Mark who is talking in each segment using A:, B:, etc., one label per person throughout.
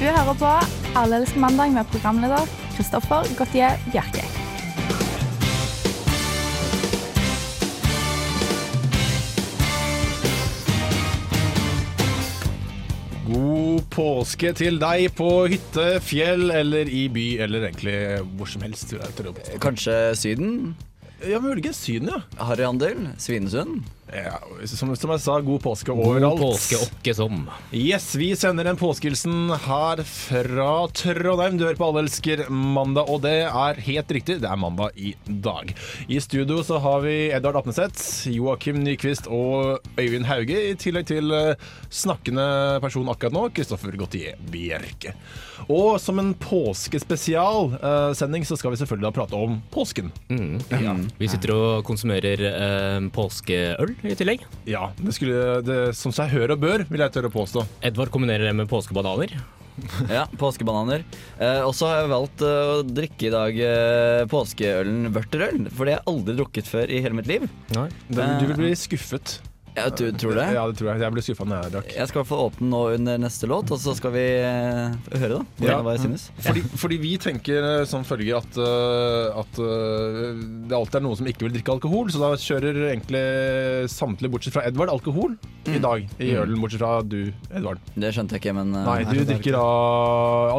A: Du hører på Alle elsker mandag med programleder Kristoffer Gautier Bjerke.
B: God påske til deg på hytte, fjell eller i by, eller egentlig hvor som helst. vil jeg tro.
C: Kanskje Syden?
B: Ja, muligens Syden, ja.
C: Harryhandel? Svinesund?
B: ja som, som jeg sa, god påske overalt.
D: åkke som.
B: Yes, vi sender en påskehilsen her fra Trondheim. Du hører på Alle elsker mandag, og det er helt riktig, det er mandag i dag. I studio så har vi Edvard Apneseth, Joakim Nyquist og Øyvind Hauge, i tillegg til eh, snakkende person akkurat nå, Kristoffer Gautier Bjerke. Og som en påskespesialsending så skal vi selvfølgelig da prate om påsken.
D: Mm. Vi sitter og konsumerer eh, påskeøl i tillegg.
B: Ja, det skulle det, Som seg hør og bør, vil jeg tørre å påstå.
D: Edvard kombinerer det med påskebananer.
C: Ja, påskebananer. Eh, og så har jeg valgt eh, å drikke i dag eh, påskeølen vørterøl, for det har jeg aldri drukket før i hele mitt liv.
D: Nei.
B: Den, du vil bli skuffet.
C: Ja, du tror det?
B: Ja, det tror jeg. Jeg ble skuffa når jeg drakk.
C: Jeg skal i hvert fall åpne nå under neste låt, og så skal vi eh, høre da, hvordan-
B: Ja.
C: hva jeg synes.
B: Fordi, fordi vi tenker eh, som følger at, eh, at eh, det alltid er noen som ikke vil drikke alkohol, så da kjører egentlig samtlige, bortsett fra Edvard, alkohol
C: Mm.
B: i dag. I ølen, bortsett fra du, Edvard.
C: Det skjønte jeg ikke, men eh,
B: Nei, du drikker da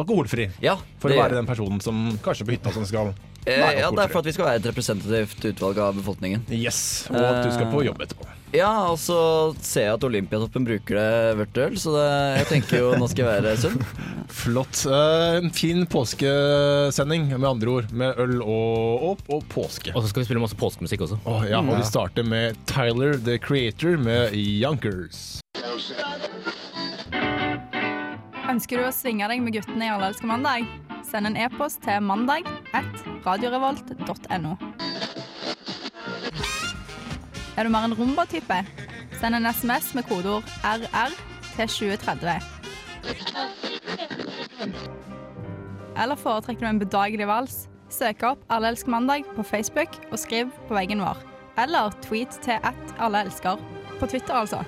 B: alkoholfri.
C: ja,
B: For
C: det
B: å
C: gjør
B: være
C: jeg.
B: den personen som kanskje på hytta som skal
C: Eh,
B: Nei,
C: ja, det er
B: alkoholfri.
C: for at vi skal være et representativt utvalg av befolkningen.
B: Yes, og at du skal
C: Eh.
B: på jobb etterpå.
C: Ja, og så ser jeg at Olympiatoppen bruker det vørterøl, så det, jeg tenker jo nå skal jeg være sunn.
B: Flott. Eh, En fin påskesending, med andre ord. Med øl og, og, og påske.
D: Og så skal vi spille masse påskemusikk også.
B: Åh, ja, og vi starter med Tyler, the creator, med Junkers.
A: Ønsker du å svinge deg med guttene i Alle elsker mandag? Send en e-post til mandag at radiorevolt.no. Er du mer en rumba-type? Send en SMS med kodeord RR til 2030. Eller foretrekker du en bedagelig vals? Søk opp Alle elsker mandag på Facebook og skriv på veggen vår. Eller tweet til at alle elsker. På Twitter, altså.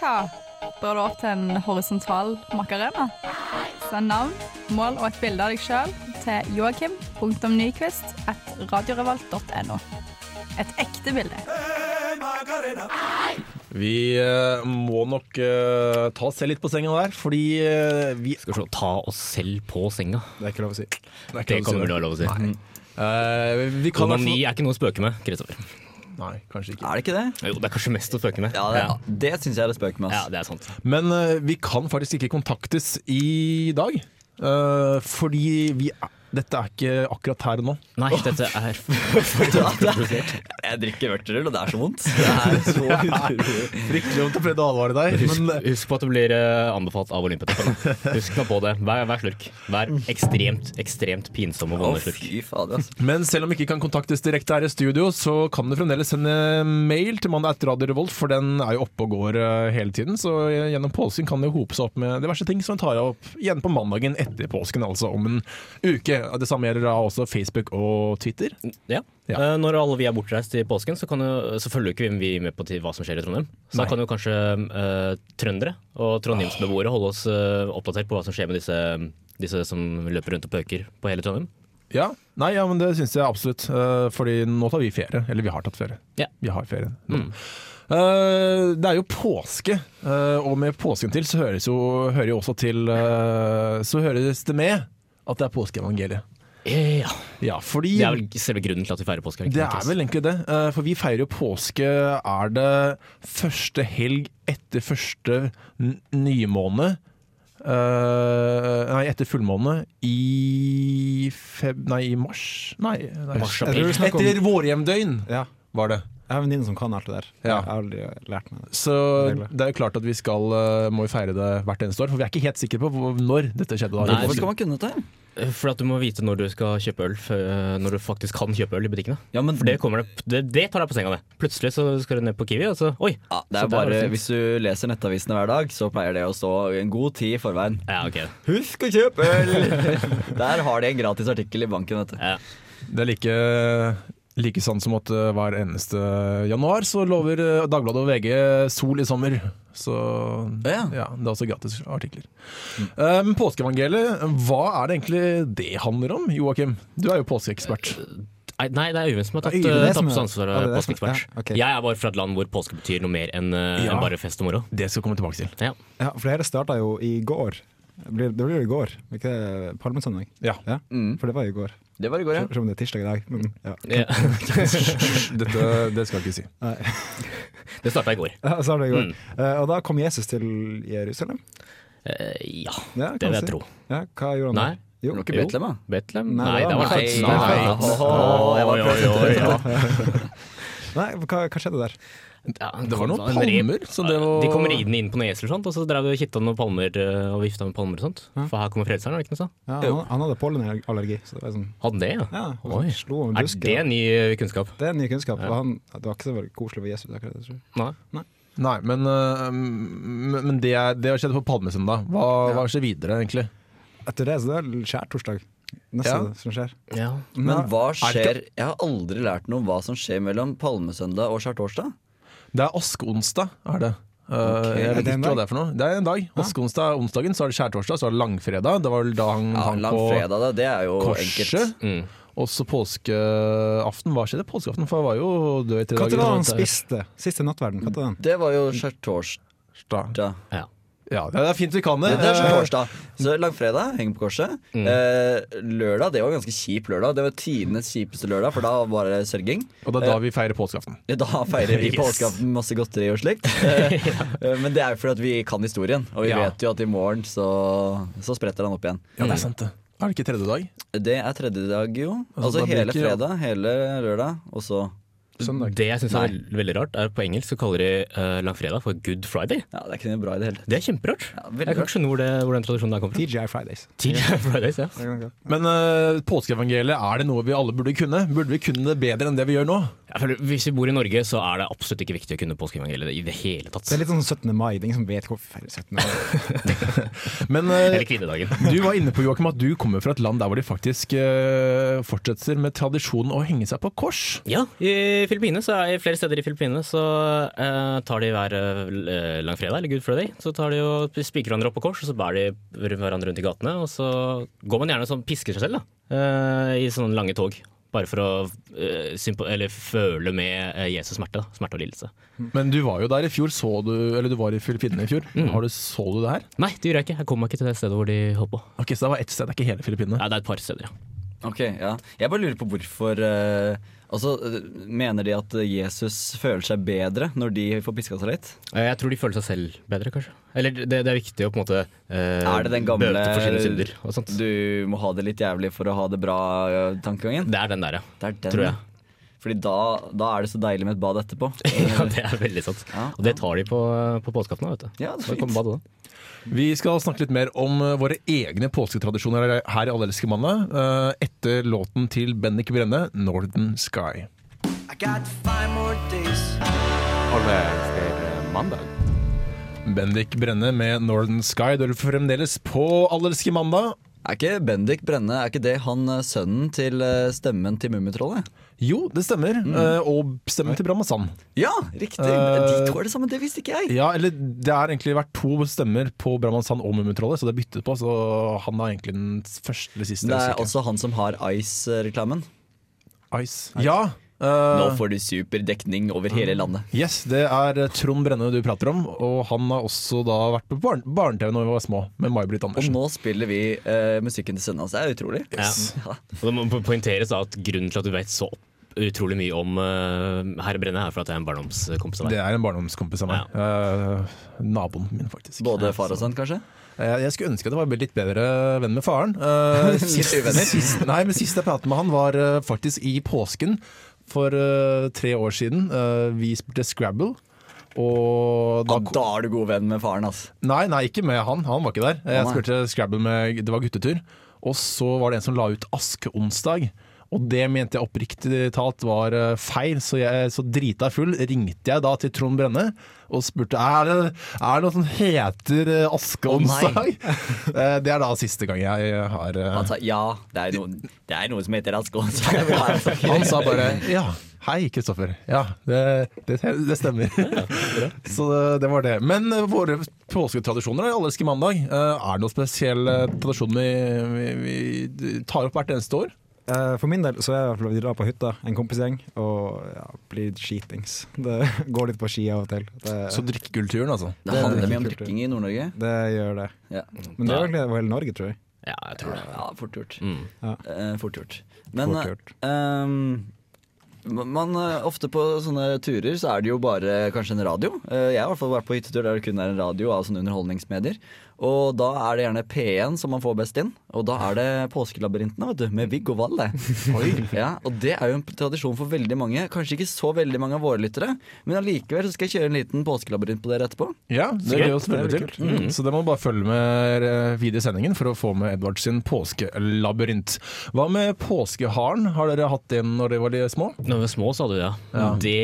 A: Hva bør du opp til en horisontal makarena? Send navn, mål og et bilde av deg sjøl til joakim.nyquist at radiorevolt.no. Et ekte bilde.
B: Vi eh, må nok eh, ta oss selv litt på senga der, fordi eh, vi
D: Skal vi se, ta oss selv på senga.
B: Det er ikke lov å si. Det, er
D: Det kommer du å ha lov å si.
B: Eh, vi kan
D: Onani er ikke noe å spøke med, Kristoffer.
B: Nei, kanskje ikke.
C: Er det ikke det?
D: Jo, det er kanskje mest å spøke med.
C: Ja, det, det syns jeg er et spøk med.
D: ja
C: Ass.
D: det er sant.
B: Men eh, vi kan faktisk ikke kontaktes i dag, eh, fordi vi er, dette er ikke akkurat her og nå.
D: Nei, dette er
C: Jeg drikker vørterøl, og det er så vondt. Det er så utrolig.
B: Fryktelig vondt å prøve å advare deg,
D: Husk,
B: men eh,
D: husk på at du blir eh, anbefalt av Olympiatoppen. Husk nå på det. Hver, hver slurk. Hver ekstremt, ekstremt pinsom og
C: Å,
D: vond slurk.
C: fy fader, ass.
B: Men selv om vi ikke kan kontaktes direkte her i studio, så kan du fremdeles sende mail til mandag etter Radio Revolt, for den er jo oppe og går eh, hele tiden. Så gjennom påsken kan det jo hope seg opp med diverse ting som vi tar opp igjen på mandagen etter påsken, altså om en uke. Det samme gjelder da også Facebook og Twitter.
D: Ja.
B: Ja.
D: Eh, når alle vi er bortreist i påsken, så, kan jo, så følger jo ikke vi med på til hva som skjer i Trondheim. Så
B: Nei.
D: da kan jo kanskje eh, trøndere og trondheimsbeboere holde oss eh, oppdatert på hva som skjer med disse, disse som løper rundt og pøker på hele Trondheim.
B: Ja, nei, ja, men det syns jeg absolutt. eh, Fordi nå tar vi ferie. Eller vi har tatt ferie.
D: Ja. Mm.
B: Vi har ferie nå. Eh, det er jo påske, eh, og med påsken til så høres jo, hører jo også til eh, Så høres det med at det er påskeevangeliet.
D: Ja.
B: Ja, fordi
D: Det er vel selve grunnen til at vi feirer påske. ikke
B: Det
D: sant,
B: er
D: ass?
B: vel egentlig det. eh, For vi feirer jo påske Er det første helg etter første n- nymåne eh, Nei, etter fullmåne i feb... Nei, i mars? Nei, nei.
D: Mars,
E: Jeg tror
D: april.
E: du snakker
B: Etter
E: om
B: vårhjemdøgn
E: ja.
B: var det.
E: Jeg har en venninne som kan alt det der.
B: Ja.
E: Jeg har aldri lært meg det.
B: Så det er jo klart at vi skal eh, må jo feire det hvert eneste år. For vi er ikke helt sikre på hvor, når dette skjedde. Da.
D: Nei,
C: Hvorfor skal man kunne dette?
D: Eh, For at du må vite når du skal kjøpe øl, f- eh, når du faktisk kan kjøpe øl i butikkene.
C: Ja, men
D: For det, kommer det, det, det tar deg på senga, det. Plutselig så skal du ned på Kiwi, og så oi!
C: ja, det
D: Så
C: er
D: der var
C: bare,
D: det fint.
C: Hvis du leser nettavisene hver dag, så pleier det å stå en god tid i forveien.
D: Ja, ok.
C: Husk å kjøpe øl! Der har de en gratis artikkel i banken, vet du.
D: Ja.
B: Det er like, like sant som at eh, hver eneste januar så lover eh, Dagbladet og VG sol i sommer. Så
C: Ja.
B: ja, det er også gratis artikler. Um, påskeevangeliet, hva er det egentlig det handler om, Joakim? Du er jo påskeekspert.
D: Nei, nei, det er Øyvind som har tatt,
E: Det er Øyvind
D: eh,
E: som
D: tatt på ansvar
E: er- Ja, det
D: av
E: er det som-
D: påskeekspert.
E: ja, ok.
D: Jeg er bare fra et land hvor påske betyr noe mer enn eh,
B: Ja.
D: enn bare fest og moro.
B: Det skal vi komme tilbake til.
D: Ja.
E: Ja, for det hele starta jo i går. Det blir det blir jo i går, ikke det? Palmesøndag.
B: Ja.
E: Ja, For det var jo i går.
C: Det var i går, ja.
E: Selv om det er tirsdag i dag. Men, ja.
D: Ja.
B: Dette, det skal jeg ikke si.
D: Det starta i går.
E: Ja, så er det i går. Eh, og da kom Jesus til Jerusalem.
D: Eh, ja,
E: Ja,
D: det
E: kan
D: vil
E: si.
D: jeg tro.
E: Ja, hva gjorde han
D: Nei.
E: da? Jo.
C: Var ikke Betlehem, da?
D: Betlehem?
E: Nei,
D: Nei,
E: det
D: det
E: var
D: var faktisk
E: Nei,
D: Nei,
E: nei.
D: nei.
C: Åh, jeg var
D: Oi, oi, oi, ja.
E: Nei, hva, hva skjedde der?
D: Ja,
B: Det var noen
D: en rep.
B: palmer, så det var
D: De kom ridende inn på noen esel og sånt, og så drev de og kitta noen palmer eh, og vifta med palmer og sånt. For her kommer frelseren, var det ikke noe sånt?
E: Ja, han, han hadde pollenallergi. Så det var liksom,
D: Hadde det, ja?
E: ja, han
D: Oi.
E: slo om
D: Er
E: busken.
D: det ny eh, kunnskap?
E: Det er ny kunnskap. og Han, det var ikke så veldig koselig for Jesus. akkurat det, tror jeg.
D: Nei.
B: Nei, men, øh, men men det, er, det har skjedd på Palmesøndag. Hva, hva skjer videre, egentlig?
E: Etter det så det er skjærtorsdag. Neste
B: Ja.
E: som skjer.
D: Ja.
C: Men hva
B: er det
C: skjer Jeg har aldri lært noe om hva som skjer mellom palmesøndag og skjærtorsdag.
B: Det er askeonsdag, er det. Uh, jeg
E: Er
B: vet
E: det en
B: ikke hva
E: dag?
B: det er for noe. Det er en dag. Askeonsdag er onsdagen, så er det skjærtorsdag, så er det langfredag. Det var vel da han
C: Ja,
B: hang på
C: Langfredag, da. Det er jo enkelt.
B: korset.
D: Mm.
B: Og så påskeaften. Hva skjedde påskeaften? For han var jo død i tre
E: Når
B: dager.
E: var han spiste? Siste nattverden? Hva var den?
C: Det var jo skjærtorsdag.
B: Torsdag. Ja, det er fint vi kan det.
C: Det, det er
B: Eh, Mm.
C: skjærtorsdag. Så langfredag, heng på korset. Eh, lørdag, det var ganske kjip lørdag. Det var tidenes kjipeste lørdag, for da var det sørging.
B: Og det er da vi feirer påskeaften.
C: Ja, Da feirer vi
D: Yes.
C: påskeaften med masse godteri og slikt. Eh, eh, Men det er jo fordi at vi kan historien, og vi
B: Ja.
C: vet jo at i morgen så, så spretter han opp igjen.
B: Ja, det er sant, det. Mm. Er det ikke tredje dag?
C: Det er tredje dag, jo.
B: Altså,
C: Altså
B: da blir
C: hele
B: ikke-
C: fredag, hele lørdag, og så
D: Mm.
E: Søndag.
D: Det jeg syns
C: Nei.
D: er veld- veldig rart, er på engelsk så kaller de eh, langfredag for good friday.
C: Ja, det er ikke noe bra i det hele tatt.
D: Det er kjemperart.
C: Ja, veldig
D: jeg kan ikke skjønne hvor, det, hvor den tradisjonen der kommer fra.
E: TGI Fridays.
D: Tidligere Fridays, ja.
B: Men eh, påskeevangeliet, er det noe vi alle burde kunne? Burde vi kunne det bedre enn det vi gjør nå?
D: Jeg føler, hvis vi bor i Norge, så er det absolutt ikke viktig å kunne påskeevangeliet i det hele tatt.
E: Det er litt sånn 17. mai. Det er ingen som vet hvorfor vi feirer 17. mai.
B: Men eh,
D: Eller kvinnedagen.
B: du var inne på Joakim, at du kommer fra et land der hvor de faktisk eh, fortsetter med tradisjonen å henge seg på kors.
D: Ja, i Filippinene, så er, i flere steder i Filippinene så eh, tar de hver eh, langfredag, eller good friday, så tar de og spiker hverandre opp på kors, og så bærer de hverandre rundt i gatene, og så går man gjerne sånn, pisker seg selv da, eh, i sånne lange tog, bare for å eh, sympa- eller føle med eh, Jesus smerte, da, smerte og lidelse.
B: Men du var jo der i fjor, så du Eller du var i Filippinene i fjor. Har du, så du det her?
D: Nei, det gjør jeg ikke. Jeg kommer meg ikke til det stedet hvor de holdt på.
B: Ok, Så det var ett sted, det er ikke hele Filippinene.
D: Nei, det er et par steder, ja.
C: Ok, ja. Jeg bare lurer på hvorfor eh, Altså, eh, Mener de at Jesus føler seg bedre når de får piska seg litt?
D: Eh, Jeg tror de føler seg selv bedre, kanskje. Eller det, det er viktig å på en måte eh,
C: Er det den gamle-
D: bøte for sine synder og sånt.
C: Du må ha det litt jævlig for å ha det bra eh, tankegangen?
D: Det er den der, ja.
C: Det er den.
D: Tror jeg.
C: Fordi da, da er det så deilig med et bad etterpå.
D: Ja, det er veldig sant.
C: Ja,
D: Og det tar de på, på påskeaften, vet du.
C: Ja, det er
D: Så
C: fint.
D: kommer badet da.
B: Vi skal snakke litt mer om eh, våre egne påsketradisjoner her i Allelske mandag, eh, etter låten til Bendik Brenne, 'Northern Sky'. Bendik Brenne med 'Northern Sky'. Du er fremdeles på Allelske mandag.
C: Er ikke Bendik Brenne er ikke det han eh, sønnen til eh, stemmen til Mummitrollet?
B: Jo, det stemmer. eh, Og stemmen til Brammasand.
C: Ja, riktig!
B: Eh,
C: De to er det samme, det visste ikke
D: Eh,
C: jeg!
B: Ja, eller det har egentlig vært to stemmer på Brammasand og Mummitrollet, så det er byttet på. Så han er egentlig den første eller siste. jeg
C: Det er
B: husker ikke.
C: også han som har Ice-reklamen.
B: altså- Ice. Ja. eh,
C: Nå får du super dekning over
D: Mm.
C: hele landet.
B: Yes, det er Trond Brenne du prater om, og han har også da vært på barn- barne-TV når vi var små, med May-Britt
C: Og
B: Andersen.
C: nå spiller vi eh, musikken til sønnen hans. Det er utrolig. Ja.
D: Og det må po- poengteres da at grunnen til at du vet så opp- utrolig mye om eh, herre Brenne, er for at jeg er en barndomskompis av
B: Det
D: deg.
B: er en barndomskompis av meg. Eh, naboen min, faktisk.
C: Både far og sønn, kanskje?
B: Eh, jeg skulle ønske at jeg var litt bedre venn med faren. Eh, sist,
C: Uvenner.
B: sist, nei, men sist jeg pratet med han, var eh, faktisk i påsken for eh, tre år siden. Eh, vi spilte Scrabble. Og da,
C: Ja, da er du god venn med faren, ass.
B: nei, nei, ikke med han. Han var ikke der.
C: Å,
B: Jeg
C: nei.
B: spilte Scrabble med Det var guttetur. Og så var det en som la ut Askeonsdag. Og det mente jeg oppriktig talt var eh, feil, så, jeg, så drita full ringte jeg da til Trond Brenne og spurte er det er det noe som heter eh, askeonsdag. Eh, det er da siste gang jeg har eh,
C: Han sa Altså, ja, det er noe, det er noe som heter Raskås.
B: Han sa bare ja. Hei, Kristoffer. Ja, det, det, det stemmer. Så eh, det, det var det. Men våre påsketradisjoner er allerske mandag. Eh, Er det noen spesielle tradisjoner vi, vi, vi tar opp hvert eneste år?
E: Eh, For min del så er det i hvert fall at vi drar på hytta, en kompisgjeng, og ja, blir skitings. Det går litt på ski av og til. Det,
B: Så drikkekulturen, altså.
C: Det handler mye om drikking i Nord-Norge.
E: det gjør det.
C: Ja.
E: Men det er egentlig over hele Norge, tror jeg.
D: Ja, jeg tror det.
C: ja, fort gjort.
D: Mm.
E: Ja.
C: Eh, fort gjort. Men
E: Fort gjort.
C: eh, ehm, man, eh, ofte på sånne turer så er det jo bare kanskje en radio. Eh, jeg har i hvert fall vært på hyttetur der det kun er en radio av sånne underholdningsmedier. Og da er det gjerne P1 som man får best inn. Og da er det Påskelabyrintene vet du, med Viggo Valle. Ja, og det er jo en tradisjon for veldig mange. Kanskje ikke så veldig mange av våre lyttere, men allikevel så skal jeg kjøre en liten påskelabyrint på dere etterpå.
B: Ja, det
D: gøy.
B: blir jo selvfølgelig til. Mm. Så det må bare følge med eh, videre i sendingen for å få med Edvard sin påskelabyrint. Hva med påskeharen? Har dere hatt den når dere var de små?
D: Når vi var små, sa du det. Ja. Det,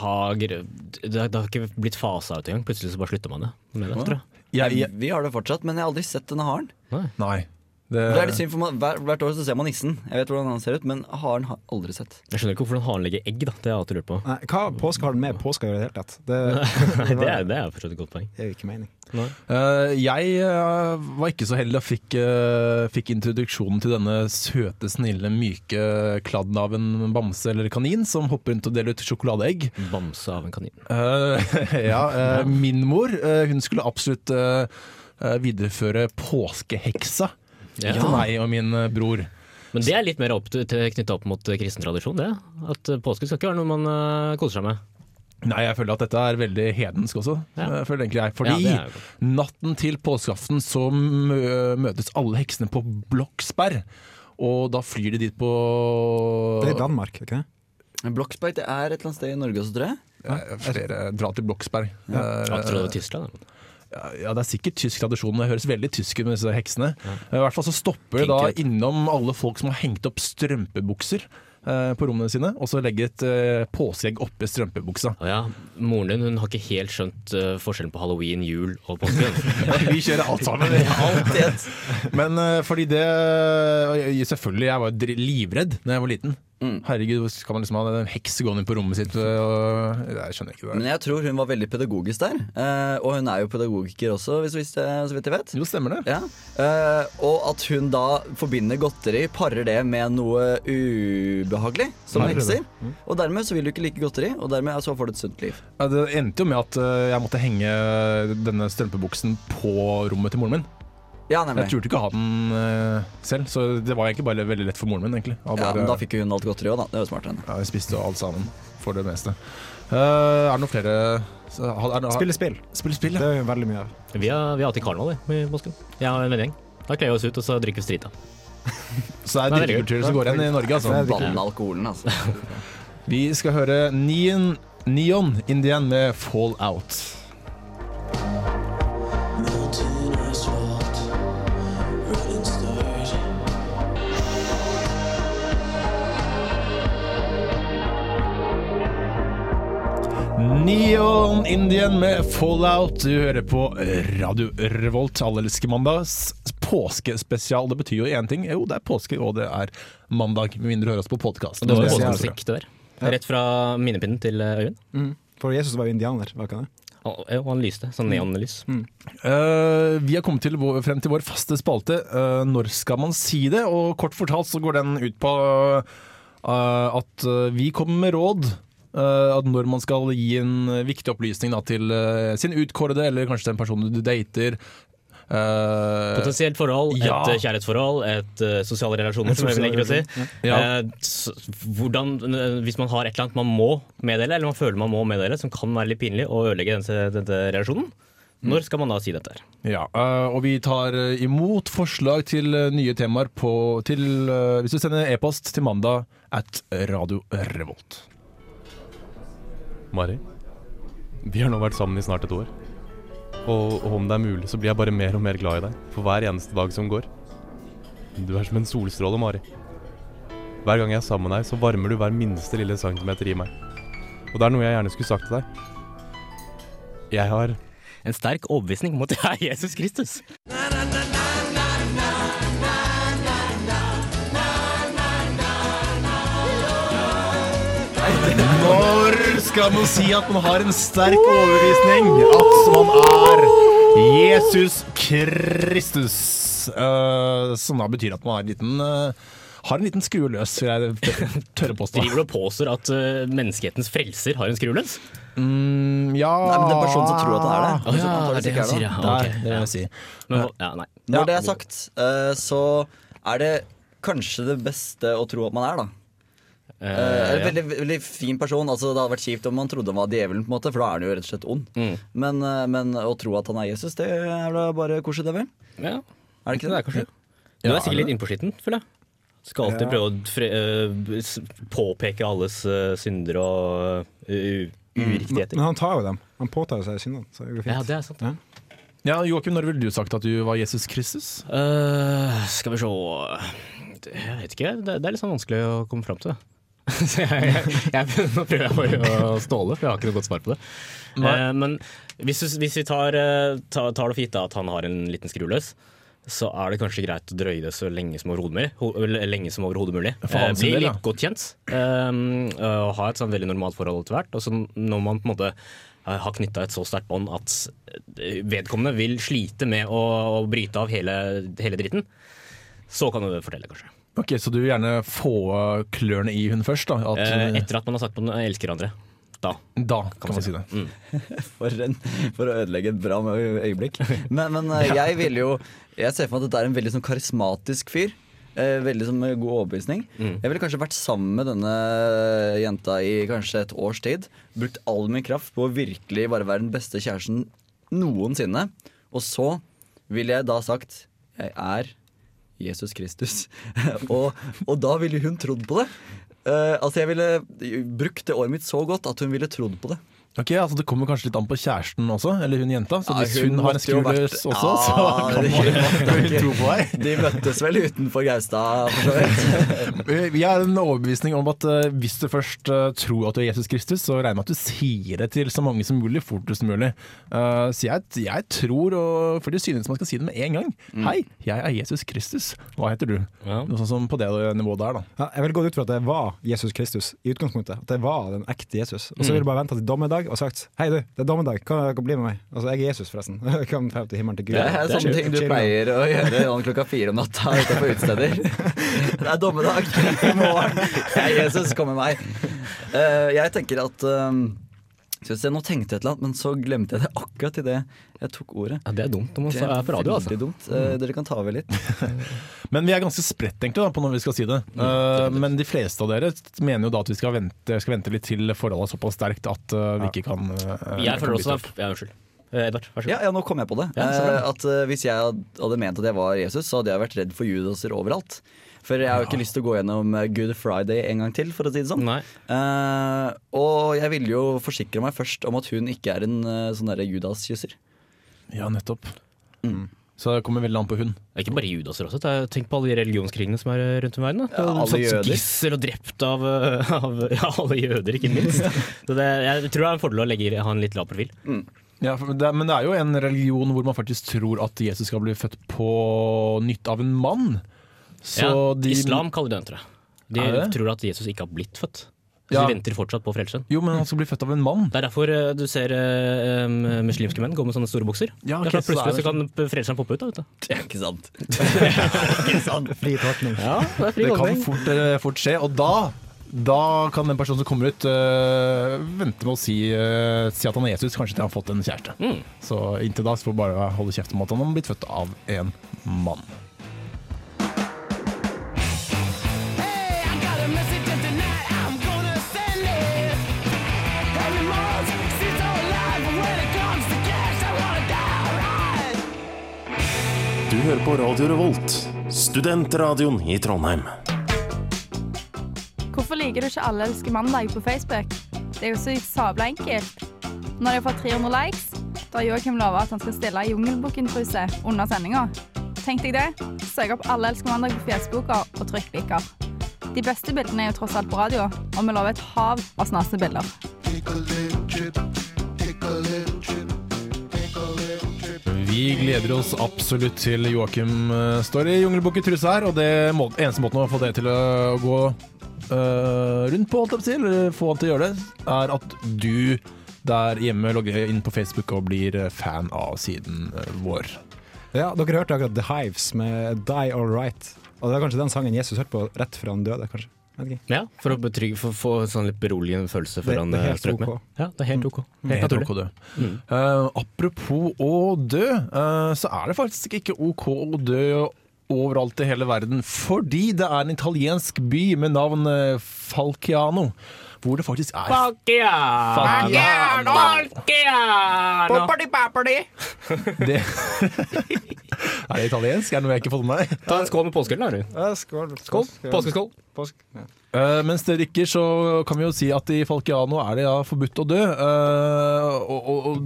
D: har, det, det har ikke blitt fasa ut engang. Plutselig så bare slutter man det. Med det tror jeg.
B: Jeg, jeg,
C: Vi har det fortsatt, men jeg har aldri sett denne haren.
B: nei. Eh.
C: Det er litt synd, for man, hver, Hvert år så ser man nissen. Jeg vet hvordan han ser ut, men haren har jeg aldri sett.
D: jeg skjønner ikke hvorfor den haren legger egg, da. Det har jeg alltid lurt på.
E: Nei, hva påske har den med påska å gjøre i det hele tatt? Det,
D: Nei, det er, det er fortsatt et godt poeng.
E: det er jo ikke mening.
B: Eh, jeg eh, var ikke så heldig og fikk, eh, fikk introduksjonen til denne søte, snille, myke kladden av en bamse eller kanin som hopper rundt og deler ut sjokoladeegg.
D: Bamse av en kanin.
B: Eh, ja, eh, min mor eh, hun skulle absolutt eh, eh, videreføre påskeheksa
D: Ja.
B: til meg og min eh, bror.
D: Men det er litt mer opp til, til, knytta opp mot eh, kristen tradisjon, det. At eh, påske skal ikke være noe man eh, koser seg med.
B: Nei, jeg føler at dette er veldig hedensk også.
D: Ja.
B: eh, Føler egentlig jeg. Fordi
D: Ja, det er jo godt.
B: natten til påskeaften så mø møtes alle heksene på Bloksberg. Og da flyr de dit på
E: Det er i Danmark, ikke det?
C: Men Bloksberg det er et eller annet sted i Norge også, tror jeg.
B: Eh, Flere drar til Bloksberg. Eh,
D: Jeg trodde det var Tyskland. da.
B: Ja, Det er sikkert tysk tradisjon, det høres veldig tysk ut med disse heksene. Eh, I hvert fall så stopper det da
D: Tenker jeg.
B: innom alle folk som har hengt opp strømpebukser eh, på rommene sine, og så legger et eh, påskeegg oppi strømpebuksa.
D: Å ja, moren din hun har ikke helt skjønt eh, forskjellen på halloween, jul og påske.
B: Vi kjører alt sammen.
C: Alt i ett.
B: Men eh, fordi det jeg- Selvfølgelig, jeg var jo dri- livredd da jeg var liten.
C: Mm.
B: Herregud, hvor skal man liksom ha en heks gående inn på rommet sitt? eh, Og, jeg skjønner ikke det.
C: Men jeg tror hun var veldig pedagogisk der. Eh, og hun er jo pedagogiker også, hvis, hvis, jeg- så vidt jeg vet.
B: Jo, stemmer det.
C: Ja. Eh, og at hun da forbinder godteri, parer det med noe ubehagelig, som
E: Parer det.
C: hekser. Og dermed så vil du ikke like godteri, og dermed så får du et sunt liv.
B: Ja, Det endte jo med at eh, jeg måtte henge eh, denne strømpebuksen på rommet til moren min.
C: Ja,
B: Jeg
C: nemlig.
B: turte ikke å ha den eh, selv, så det var egentlig bare veldig lett for moren min. egentlig. Han
C: Ja,
B: bare-
C: men da fikk jo hun alt godteriet òg, da. Det var jo smart av henne.
B: ja, vi spiste jo alt sammen, for det meste. Eh, er det noen flere så, har- er det- har-
E: Spille spill.
B: Spille spill,
E: Det
B: ja.
E: er jo veldig mye av.
D: Vi har, vi har alltid karneval vi, i påsken. Jeg har en vennegjeng. Da kler vi oss ut, og så drikker vi strita.
B: Så det
D: Nei,
B: er
D: det er
B: drikkekulturen som går igjen i Norge, altså.
C: Banne alkoholen, altså.
B: Vi skal høre Neon, Neon Indian med Fall Out.
F: Molten asphalt, running stars.
B: Neon Indian med Fallout. Du hører på Radio Revolt, allelske mandags påskespesial. Det betyr jo én ting. Jo, det er påske, og det er mandag. Med mindre du hører oss på podkast.
D: Og det altså. var
E: Det er
D: påskemusikk, det der. Rett fra minnepinnen til eh, Øyvind.
E: For Jesus var jo indianer, var ikke han det?
D: Og og han lyste, sånn neonlys.
B: Eh, vi har kommet til vår, frem til vår faste spalte eh, Når skal man si det? Og kort fortalt så går den ut på eh, at eh, vi kommer med råd. eh, at når man skal gi en eh, viktig opplysning da, til eh, sin utkårede, eller kanskje den personen du dater. eh,
D: Potensielt forhold, et
B: Ja.
D: eh, kjærlighetsforhold, et eh, sosiale relasjoner, som Øyvind liker å si.
B: Ja.
D: Eh, s- hvordan, eh, hvis man har et eller annet man må meddele, eller man føler man må meddele, som kan være litt pinlig og ødelegge denne, denne relasjonen, når skal man da si dette? her?
B: Ja, eh, og vi tar eh, imot forslag til eh, nye temaer på, til, eh, hvis du sender e-post til mandag at Radio Revolt.
G: Mari, vi har nå vært sammen i snart et år. Og, og om det er mulig, så blir jeg bare mer og mer glad i deg for hver eneste dag som går. Du er som en solstråle, Mari. Hver gang jeg er sammen med deg, så varmer du hver minste lille centimeter i meg. Og det er noe jeg gjerne skulle sagt til deg. Jeg har
D: En sterk overbevisning om at jeg er Jesus Kristus.
B: Når skal man si at man har en sterk overbevisning at man er Jesus Kristus? Eh, som da betyr at man har en liten, eh, har en liten skrue løs, vil jeg tørre påstå.
D: Driver du og påstår at eh, menneskehetens frelser har en skruløs?
B: Mm, ja
C: Nei, men det er personen som tror at det er det.
D: ja,
C: Sånn Antageligvis
D: det er det
C: ikke
D: han sier, ja. Ok,
B: Der, det vil jeg si.
D: Men, hva- ja, nei.
C: Når det er sagt, eh, så er det kanskje det beste å tro at man er, da. Eh,
D: Eh,
C: en
D: ja.
C: veldig, veldig fin person. Altså, det hadde vært kjipt om man trodde han var djevelen, på en måte, for da er han jo rett og slett ond.
D: Mm.
C: Men, eh, men å tro at han er Jesus, det er da bare koselig, det vel?
D: Ja.
C: Er det ikke det?
D: kanskje. Du er sikkert litt innpå skitten, føler jeg. Skal alltid
E: Ja.
D: prøve å fre eh, s- påpeke alles eh, synder og eh, u- uriktigheter.
E: Men han tar jo dem. Han påtar jo seg syndene, så det går fint.
D: Ja, det er sant.
E: Ja.
B: Ja, Joakim, når ville du sagt at du var Jesus Kristus?
D: Eh, skal vi se Det- Jeg vet ikke, det, det er litt sånn vanskelig å komme fram til. Så jeg, jeg, jeg, nå prøver jeg bare
B: Eh,
D: å ståle, for jeg har ikke noe godt svar på det.
B: Nei.
D: Eh, men hvis, du, hvis vi tar, eh, ta, tar det for gitt da at han har en liten skru løs, så er det kanskje greit å drøye det så lenge som overhodet mulig. ho- eller eh, lenge som overhodet mulig. Eh,
B: For hans
D: bli
B: del, ja.
D: litt godt kjent eh, og ha et sånn veldig normalt forhold til hvert. Og så når man på en måte eh, har knytta et så sterkt bånd at eh, vedkommende vil slite med å, å bryte av hele, hele dritten, så kan du fortelle, kanskje.
B: Ok, Så du vil gjerne få eh, klørne i hun først? da? At,
D: Eh,
B: eh,
D: Etter at man har sagt at man elsker hverandre. Da.
B: da kan man si det.
C: For, en, for å ødelegge et bra ø- øyeblikk. Men, men eh, jeg ville jo Jeg ser for meg at dette er en veldig sånn karismatisk fyr. Eh, veldig sånn med god overbevisning. Jeg ville kanskje vært sammen med denne jenta i kanskje et års tid. Brukt all min kraft på å virkelig bare være den beste kjæresten noensinne. Og så ville jeg da sagt Jeg er Jesus Kristus. og, og da ville hun trodd på det. Eh, altså Jeg ville brukt det året mitt så godt at hun ville trodd på det.
B: Ok, altså Det kommer kanskje litt an på kjæresten også, eller hun jenta. Så
C: Ja,
B: hvis
C: hun
B: hun, har en
C: måtte jo
B: skrue
C: vært-
B: løs også, så
C: Ja,
B: kan
C: det-
B: man hun tro på deg.
C: De møttes vel utenfor Gaustad, for så vidt.
B: Vi har en overbevisning om at eh, hvis du først eh, tror at du er Jesus Kristus, så regner jeg med at du sier det til så mange som mulig fortest mulig. Eh, så jeg, jeg tror, og for det synes man skal si det med en gang,
C: Mm.
B: hei, jeg er Jesus Kristus. Hva heter du?
D: Ja.
B: Noe sånn som på det nivået der, da.
E: Ja, jeg ville gått ut fra at det var Jesus Kristus i utgangspunktet. At det var den ekte Jesus. Og så ville jeg bare venta til dommedag og sagt Hei, du, det er dommedag, hva hva blir det med meg? Altså, jeg er Jesus, forresten. Jeg kan dra til himmelen til Gud.
C: Det er
E: Chill-
C: sånne ting du
E: chill nå.
C: pleier å gjøre sånn klokka fire om natta utenfor utesteder. Det er dommedag i morgen. Jeg, Jesus, kom med meg. Eh, jeg tenker at eh, Skal vi se, nå tenkte jeg et eller annet, men så glemte jeg det akkurat idet jeg tok ordet.
D: Ja, det er dumt når man
C: Det
D: er på radio, altså.
C: veldig dumt.
B: Mm.
C: Eh, dere kan ta over litt.
B: Men vi er ganske spredt egentlig da, på når vi skal si det.
C: Mm,
B: Eh, men de fleste av dere mener jo da at vi skal vente, skal vente litt til forholdet er såpass sterkt at eh, vi ikke kan eh,
D: Jeg føler
B: kan
D: også
B: bytte opp.
D: Ja, unnskyld. Eh, Edvard, vær så god.
C: Ja, ja, nå kom jeg på det.
D: Ja, så bra.
C: Eh, at eh, Hvis jeg had- hadde ment at jeg var Jesus, så hadde jeg vært redd for judaser overalt. For jeg har jo ikke lyst til å gå gjennom eh, Good Friday en gang til, for å si det sånn.
D: Nei.
C: Eh, og jeg ville jo forsikre meg først om at hun ikke er en eh, sånn derre Judas-kysser.
B: Ja, nettopp. Mm. Så det kommer veldig an på hun.
D: Det er Ikke bare judaser også. det er- Tenk på alle de religionskrigene som er eh, rundt om i verden. Da.
C: Ja, alle
D: Satt
C: jøder.
D: Gisler og drept av, uh, av ja, alle jøder, ikke minst. Så det, jeg tror det er en fordel å legge, ha en litt lav profil.
B: Ja, for det, men det er jo en religion hvor man faktisk tror at Jesus skal bli født på nytt av en mann. Så
D: ja,
B: de,
D: Islam kaller det den, tror jeg.
B: Er
D: De
B: det?
D: tror at Jesus ikke har blitt født. Så
B: Ja.
D: De venter fortsatt på frelsen.
B: Jo, men han skal bli født av en mann.
D: Det er derfor eh, du ser eh, em, muslimske menn gå med sånne store bukser.
B: Ja, ok,
D: Det
B: så det
D: er for
B: er
D: plutselig så kan frelseren poppe ut. da, vet du.
C: Det er ikke sant. ikke sant.
E: sånn, Fri tolkning.
D: Ja, det er
B: Det kan fort, eh, fort skje, og da da kan den personen som kommer ut, eh, vente med å si, eh, si at han er Jesus, kanskje til han har fått en kjæreste.
D: Mm.
B: Så inntil da så får vi bare holde kjeft om at han har blitt født av en mann.
H: Du hører på Radio Revolt, studentradioen i Trondheim.
A: Hvorfor liker du ikke Alle elsker mandag på Facebook? Det er jo så sabla enkelt. Når jeg har fått 300 likes, da har Joakim lova at han skal stille Jungelbukken-truse under sendinga. Tenk deg det. Søk opp Alle elsker mandag på Facebooka og trykk liker. De beste bildene er jo tross alt på radio, og vi lover et hav av snasende bilder.
B: Vi gleder oss absolutt til Joakim eh, står i jungelbukk i truse her, og det må, eneste måten å få det til å gå eh, rundt på, holdt jeg på å si, eller få han til å gjøre det, er at du der hjemme logger inn på Facebook og blir eh, fan av siden eh, vår.
E: Ja, dere hørte akkurat The Hives med Die All Right. Og det er kanskje den sangen Jesus hørte på rett før han døde, kanskje. Vet ikke.
D: Ja, for å betrygge, for å få sånn litt beroligende følelse før
E: Det-
D: han
E: det er
D: eh,
E: helt
D: strøk med.
E: ok.
D: Ja, det er helt ok. Helt
B: Mm. Helt
D: naturlig. Mm.
B: ok å dø. Eh, apropos å dø, eh, så er det faktisk ikke ok å dø overalt i hele verden, fordi det er en italiensk by med navn eh, Falciano, hvor det faktisk er Falciano! Det Er det italiensk? Er det noe jeg ikke har fått med meg?
D: Ta en skål med påskeøl, da. du.
E: Skål.
D: Skål. Påskeskål.
E: Påsk. Ja.
B: Eh, mens dere drikker, så kan vi jo si at i Falciano er det ja forbudt å dø. Eh, og, og, og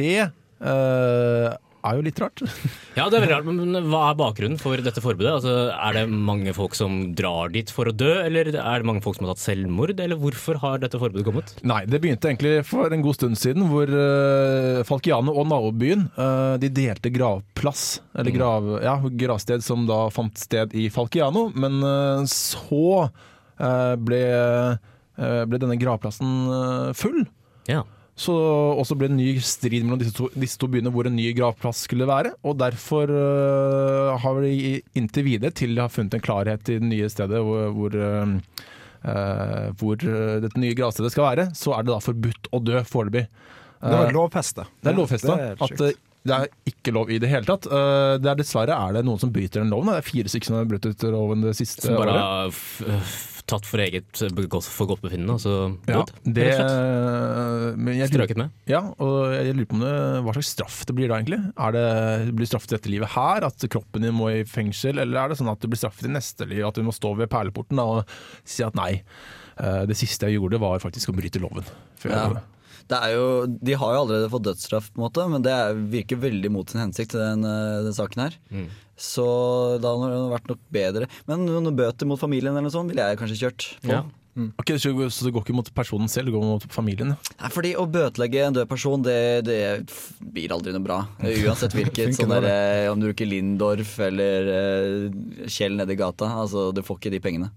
B: det eh, er jo litt rart.
D: Ja, det er veldig rart, men hva er bakgrunnen for dette forbudet? Altså, er det mange folk som drar dit for å dø, eller er det mange folk som har tatt selvmord, eller hvorfor har dette forbudet kommet?
B: Nei, det begynte egentlig for en god stund siden, hvor eh, Falciano og nabobyen eh, de delte gravplass, eller grav, ja, gravsted som da fant sted i Falciano. Men eh, så eh, ble, eh, ble denne gravplassen eh, full.
D: Ja.
B: Så også ble det en ny strid mellom disse to, disse to byene hvor en ny gravplass skulle være. Og derfor øh, har vi i- inntil videre, til de har funnet en klarhet i det nye stedet hvor, hvor, øh, øh, hvor øh, dette nye gravstedet skal være, så er det da forbudt å dø foreløpig.
E: Det
B: Eh,
E: var lovfesta.
B: det er lovfesta. At eh, det er ikke lov i det hele tatt. Eh, Det er dessverre er det noen som bryter den loven. Det er fire stykker som har brutt loven det siste
D: Som bare
B: året.
D: har f- f- tatt for eget godt- for godt befinnende, altså
B: Ja,
D: død.
B: det, øh,
D: rett og slett.
B: men jeg lurer-
D: Strøket med.
B: Ja, og jeg lurer på om det, hva slags straff det blir da egentlig? Er det, blir straff til dette livet her, at kroppen din må i fengsel, eller er det sånn at du blir straffet i neste liv, at du må stå ved perleporten da, og si at nei, eh, det siste jeg gjorde var faktisk å bryte loven. Før jeg
C: Ja.
B: gjorde det.
C: Det er jo, de har jo allerede fått dødsstraff, på en måte, men det er- virker veldig mot sin hensikt. Den, eh, den saken her
D: Mm.
C: Så da hadde det vært nok bedre. Men noen bøter mot familien eller noe sånt ville jeg kanskje kjørt. på.
D: Ja.
B: Ok, så, så det går ikke mot personen selv, det går mot familien. ja.
C: Nei, fordi å bøtelegge en død person, det, det f- blir aldri noe bra. Uansett hvilket.
E: Funker
C: sånn
E: bare.
C: der, eh, om du bruker Lindorf eller eh, Kjell nedi gata. Altså, du får ikke de pengene.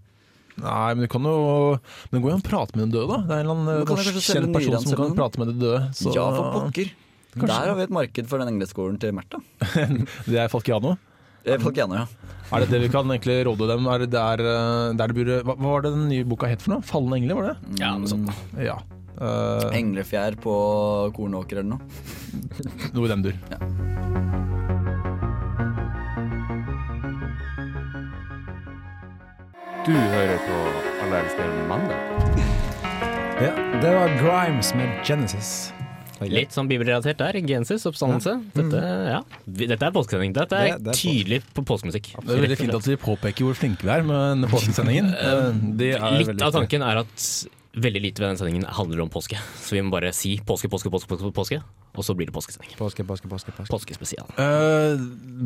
B: Nei, men du kan jo Men det går jo an å prate med den døde, da. Det er en eller
C: Men
B: annen
C: kan
B: norsk
C: jeg kanskje selge
B: kjent person som kan
C: nyranselven?
B: prate med den døde. Så,
C: ja, for pokker. Der har vi et marked for den engleskolen til Märtha.
B: det er Falkiano.
C: Eh, Falciano, ja.
B: Er det det vi kan egentlig råde dem? Er det der, eh, der det burde, hva, hva var det den nye boka het for noe? 'Falne engler', var det?
D: Ja, noe sånt.
B: Ja. Eh,
C: Mm. Englefjær på kornåker eller noe.
B: noe i den dur.
I: Du hører på Alle elsker mandag.
E: Ja, det var Grimes med Genesis.
D: Litt sånn bibelrelatert der. Gensis, oppstandelse. Dette, ja. Vi- Dette er påskesending. Dette er
E: Det- det er påske.
D: tydelig på påskemusikk.
B: Det er veldig fint at vi påpeker hvor flinke vi er med denne påskesendingen. Eh, Det er
D: Litt
B: veldig
D: av
B: viktig.
D: tanken er at veldig lite ved den sendingen handler om påske. Så vi må bare si påske, påske, påske, påske, påske og så blir det påskesending.
E: Påske, påske, påske. påske.
D: Påskespesial.
B: Eh,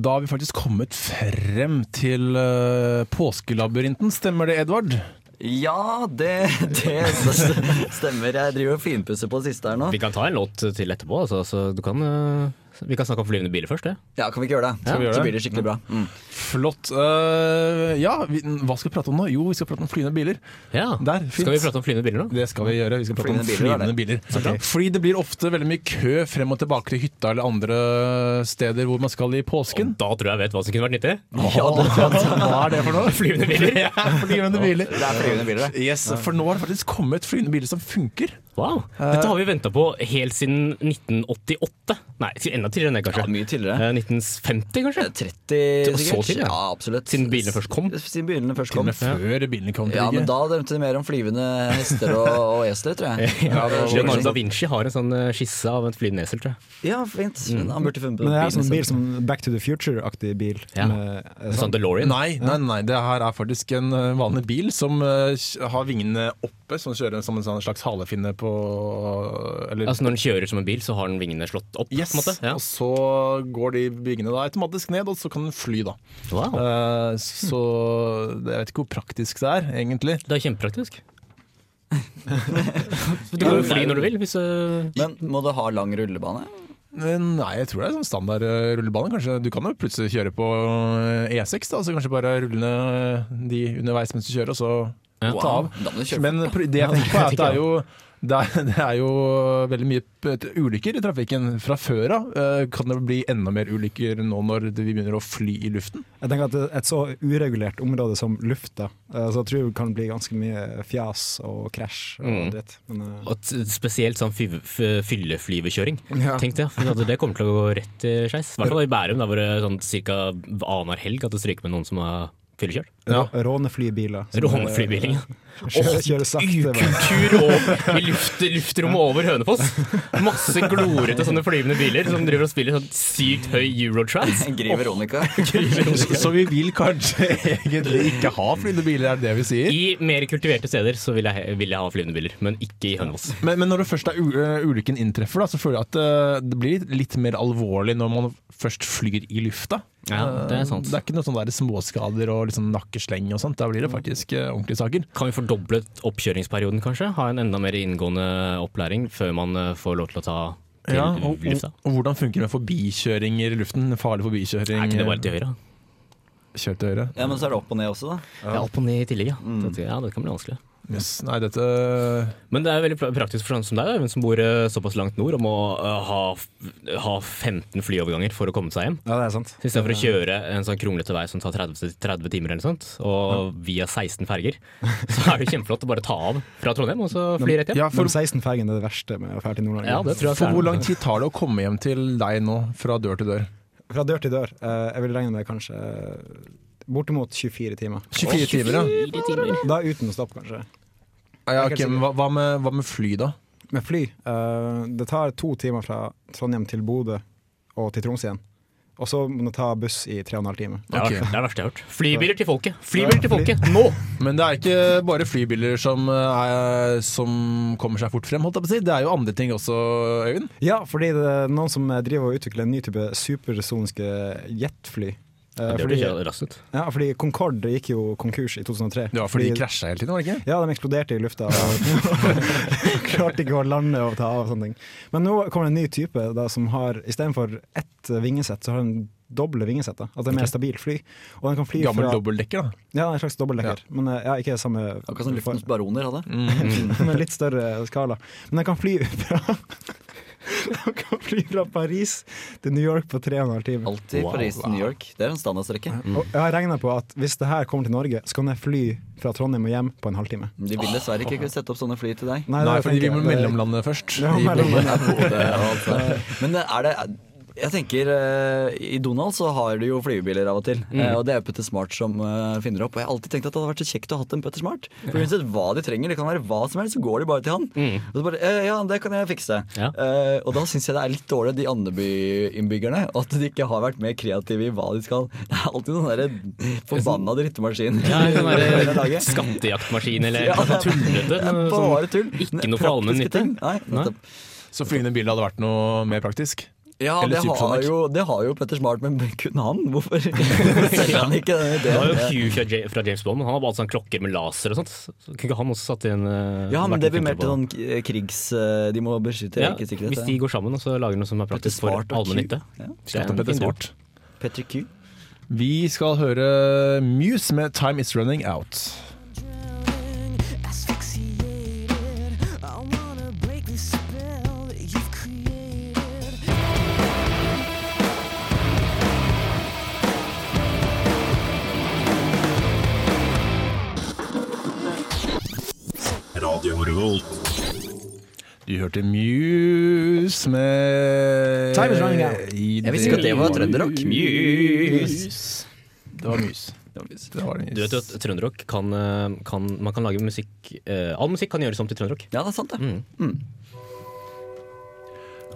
B: Da har vi faktisk kommet frem til eh, påskelabyrinten, stemmer det, Edvard?
C: Ja, det, det stemmer. Jeg driver og finpusser på det siste her nå.
D: Vi kan ta en låt til etterpå, altså, så du kan øh, Vi kan snakke om flyvende biler først, det.
C: Ja, kan vi ikke gjøre det?
B: vi gjøre det?
C: Så blir det skikkelig bra. Mm.
B: Flott. Eh, Ja, vi, hva skal vi prate om nå? Jo, vi skal prate om flyvende biler.
D: Ja.
B: Der, fint.
D: Skal vi prate om flyvende biler nå?
B: Det skal vi gjøre. Vi skal prate om
C: Flyvende biler,
B: flyvende biler. Fordi det blir ofte veldig mye kø frem og tilbake til hytta eller andre steder hvor man skal i påsken.
D: Da tror jeg jeg vet hva som kunne vært nyttig.
B: Hva er det for noe?
D: Flyvende biler.
B: Flyvende biler.
C: Det er flyvende biler, det.
B: Yes, for nå har det faktisk kommet flyvende biler som funker.
D: Wow. Dette har vi venta på helt siden 1988. Nei, enda tidligere enn det,
C: Ja,
D: kanskje.
C: mye tidligere.
D: Eh, 1950, kanskje?
C: Eh, 30
D: Så
C: sikkert?
D: tidlig, ja.
C: ja, absolutt.
D: Siden bilene først kom.
C: Siden bilene først
B: Til og
C: kom.
B: med før bilene kom til
C: Ja, men
B: Norge.
C: da drømte de mer om flyvende hester og, og esler, tror jeg.
D: Ja,
C: det var-
D: Leonardo da Vinci har en sånn eh, skisse av et flyvende esel, tror jeg.
C: Ja, fint.
D: Mm.
C: Men Han burde funnet på
E: Men det er sånn bil
C: bilen
E: som Back to the Future-aktig bil.
D: liksom. Ja.
E: Med, eh,
D: En sånn DeLorean.
B: Nei, nei, nei, det her eh, er faktisk en ø, vanlig bil som ø, har vingene oppe, som kjører som en sånn slags halefinne på på Eller
D: Altså Når den kjører som en bil, så har den vingene slått opp?
B: Yes,
D: på en måte. Ja.
B: og så går de byggene da automatisk ned, og så kan den fly, da.
D: Wow.
B: Eh, så jeg vet ikke hvor praktisk det er, egentlig.
D: Det er kjempepraktisk. du kan jo fly når du vil. Hvis, øh,
C: Men må det ha lang rullebane?
B: Men Nei, jeg tror det er sånn standard eh, rullebane. Kanskje Du kan jo plutselig kjøre på eh, E6, da, så kanskje bare rulle ned de underveis mens du kjører, og så
D: Ja.
B: ta av.
C: Da må du kjøre.
B: Men pr- det jeg tenker på, er at det er jo det er, det er jo veldig mye p- ulykker i trafikken fra før av. Eh, Kan det bli enda mer ulykker nå når vi begynner å fly i luften?
E: Jeg tenker at Et så uregulert område som lufta, eh, så jeg tror det kan bli ganske mye fjas og krasj og
D: Mm.
E: dritt. Men eh,
D: og t- spesielt sånn fy- f- fylleflyvekjøring.
E: Ja.
D: Tenk det, for at det kommer til å gå rett i skeis. I hvert fall i Bærum, der hvor det er sånn ca. annenhver helg at det stryker med noen som har fyllekjørt.
B: Ja.
E: råneflybiler som, eh,
D: Råneflybiling.
E: Kjører, kjører sakte. bare.
D: Ukultur over- i luft, luftrommet over Hønefoss. Masse glorete sånne flyvende biler som driver og spiller sånn sykt høy eurotrance.
C: Gri Veronica.
B: Så vi vil kanskje egentlig ikke ha flyvende biler, er det det vi sier?
D: I mer kultiverte steder så vil jeg, he- vil jeg ha flyvende biler, men ikke i Hønefoss.
B: Men, men når det først er u- eh, ulykken inntreffer, da, så føler jeg at eh, det blir litt mer alvorlig når man først flyr i lufta.
D: Ja, det er sant.
B: Eh, Det er ikke noe sånn der småskader og liksom nakkesleng og sånt. Da blir det
D: Mm.
B: faktisk eh, ordentlige saker.
D: Kan vi fordoble oppkjøringsperioden, kanskje? Ha en enda mer inngående opplæring før man eh, får lov til å ta til
B: Ja, og, og,
D: lufta?
B: og hvordan funker det med forbikjøringer i luften? Farlig forbikjøring? eh,
D: Er ikke det bare til høyre? da?
B: Kjør til høyre.
C: Ja, men så er det opp og ned også, da.
D: Ja, Mm. opp og ned i tillegg, ja. Dette, ja. Det kan bli vanskelig.
B: Yes. Nei, dette
D: Men det er jo veldig pra- praktisk for sånne som deg, da, som bor eh, såpass langt nord, om å eh, ha, f- ha 15 flyoverganger for å komme seg hjem.
E: Ja, det er sant.
D: Så istedenfor å kjøre en sånn kronglete vei som tar 30, 30 timer, eller noe sånt, og via 16 ferger, så er det kjempeflott å bare ta av fra Trondheim og så fly rett hjem.
B: Ja, for,
E: De 16 fergene er det verste med å dra til Nord-Norge.
D: Ja, det tror jeg
B: for hvor lang tid tar det å komme hjem til deg nå, fra dør til dør?
E: Fra dør til dør. eh, jeg vil regne med kanskje eh, bortimot 24 timer.
B: 24 timer, ja.
D: Fire timer.
E: Da uten stopp, kanskje.
B: ja ok, men hva, hva, med, hva med fly, da?
E: Med fly. eh, det tar to timer fra Trondheim til Bodø og til Troms igjen. Og så må du ta buss i tre og en halv time.
D: Det er
B: Ok.
D: det er det verste jeg har hørt. Flybiler til folket! Flybiler til folket, nå!
B: Men det er ikke bare flybiler som, eh, er, som kommer seg fort frem, holdt jeg på å si. Det er jo andre ting også, Øyvind.
E: Ja, fordi det er noen som driver og utvikler en ny type supersoniske jetfly. Eh,
D: Det
E: fordi,
D: blir ikke raskt ut.
E: ja, fordi Concorde gikk jo konkurs i 2003.
B: Ja, for de krasja hele tiden, var det ikke?
E: Ja, de eksploderte i lufta og klarte ikke å lande og ta av og sånne ting. Men nå kommer det en ny type da, som har istedenfor ett vingesett, så har den doble vingesett. da. At det er mer stabilt fly. Og den kan fly
B: Gammel
E: fra
B: dobbeltdekker, da.
E: Ja, en slags dobbeltdekker. Men eh, ja, ikke samme
C: Akkurat som Luftens baroner hadde.
D: Mm.
E: med litt større skala. Men den kan fly fra Den kan fly fra Paris til New York på tre og en halv time.
C: Alltid Paris New York. Det er en standardstrekke.
D: Mm.
E: Og jeg har regna på at hvis det her kommer til Norge, så kan jeg fly fra Trondheim og hjem på en halvtime.
C: De vil dessverre ikke sette opp sånne fly til deg.
B: Nei,
E: det
B: fordi vi må
E: tenker jeg. Det-
B: mellomlande først.
E: Ja, mellom-
C: Det er Bodø og alt det der. Men er det jeg tenker, eh, I Donald så har du jo flygebiler av og til,
D: Mm.
C: eh, og det er jo Petter Smart som eh, finner opp. Og jeg har alltid tenkt at det hadde vært så kjekt å ha hatt en Petter Smart. For uansett hva de trenger, det kan være hva som helst, så går de bare til han. Og så bare, eh, ja, det kan jeg fikse.
D: Mm. Ja.
C: Eh, og da syns jeg det er litt dårlig, de Andeby-innbyggerne, at de ikke har vært mer kreative i hva de skal. Det er alltid noen derre forbanna drittemaskinen.
D: Ja, det kan
C: Hele
D: være
C: dagen.
D: skattejaktmaskin eller
C: Ja,
D: noe sånt tullete.
C: Det er
D: noe
C: Bare tull.
D: sånn- Ikke noe for allmenn
C: Praktiske
D: nytte.
C: ting. Nei,
D: Nei.
C: nettopp.
B: Så flyvende bil hadde vært noe mer praktisk?
C: Ja,
B: Eller
C: det har,
B: Supersonic.
C: jo, det har jo Petter Smart, men kun han. Hvorfor selger han ikke den
D: Det var jo
C: ideen?
D: Q fra Ja- fra James Bond, men han hadde bare sånne klokker med laser og sånt. Så Kunne ikke han også satt inn eh,
C: Ja, men det
D: vært litt
C: blir mer
D: flinkere
C: til
D: på
C: sånn k- krigs... eh, De må beskytte
D: det? ja,
C: rikets sikkerhet.
D: Hvis de går sammen og så lager noe som er
C: Petter
D: praktisk for
C: Smart og
D: allmenn
C: Q.
D: nytte.
C: Ja.
D: Det er en fin duo.
C: Petter Q.
B: Vi skal høre Muse med 'Time Is Running Out'.
H: Radio Revolt.
B: Du hørte Muse med
E: Time is running out.
B: I-
C: Jeg visste ikke at det var trønderrock.
B: Muse. Det var Muse. Det var
D: Du vet jo at trønderrock kan, eh, kan Man kan lage musikk eh, All musikk kan gjøres om til trønderrock.
C: Ja, det er sant, det.
D: Mm.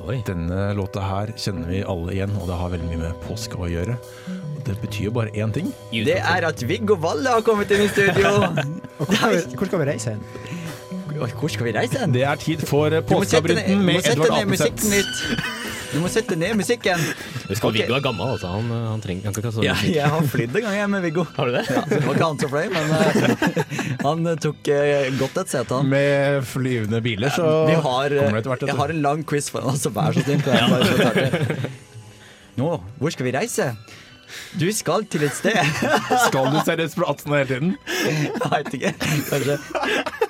D: Oi.
B: Denne låta her kjenner vi alle igjen, og det har veldig mye med påske å gjøre. Og Det betyr jo bare én ting.
C: Det er at Viggo Valle har kommet inn i studio!
E: Og hvor skal vi, hvor skal vi reise hen?
C: Oi, hvor skal vi reise hen?
B: Det er tid for
C: Du må sette
B: Påskeabryten
C: ned- du må
B: med
C: sette
B: Edvard
C: ned musikken
B: Apneseth.
C: litt. Du må sette ned musikken.
D: Husk at
C: Ok.
D: Viggo er gammel, altså. Han, eh, han trenger han skal ikke ha så
C: Ja, jeg har flydd en gang jeg med Viggo.
D: Har du det?
C: Ja, det var ikke han som fløy, men eh, han eh, tok eh, godt et sete, han.
B: Med flyvende biler, så
C: Vi har,
B: kommer
C: eh,
B: det etter hvert. vet
C: jeg
B: du.
C: har en lang quiz foran oss, så vær så snill. kan jeg bare få starte? Nå, hvor skal vi reise? Du skal til et sted. Jeg
B: Skal du seriøst på 18 hele tiden?
C: vet ikke. Kanskje.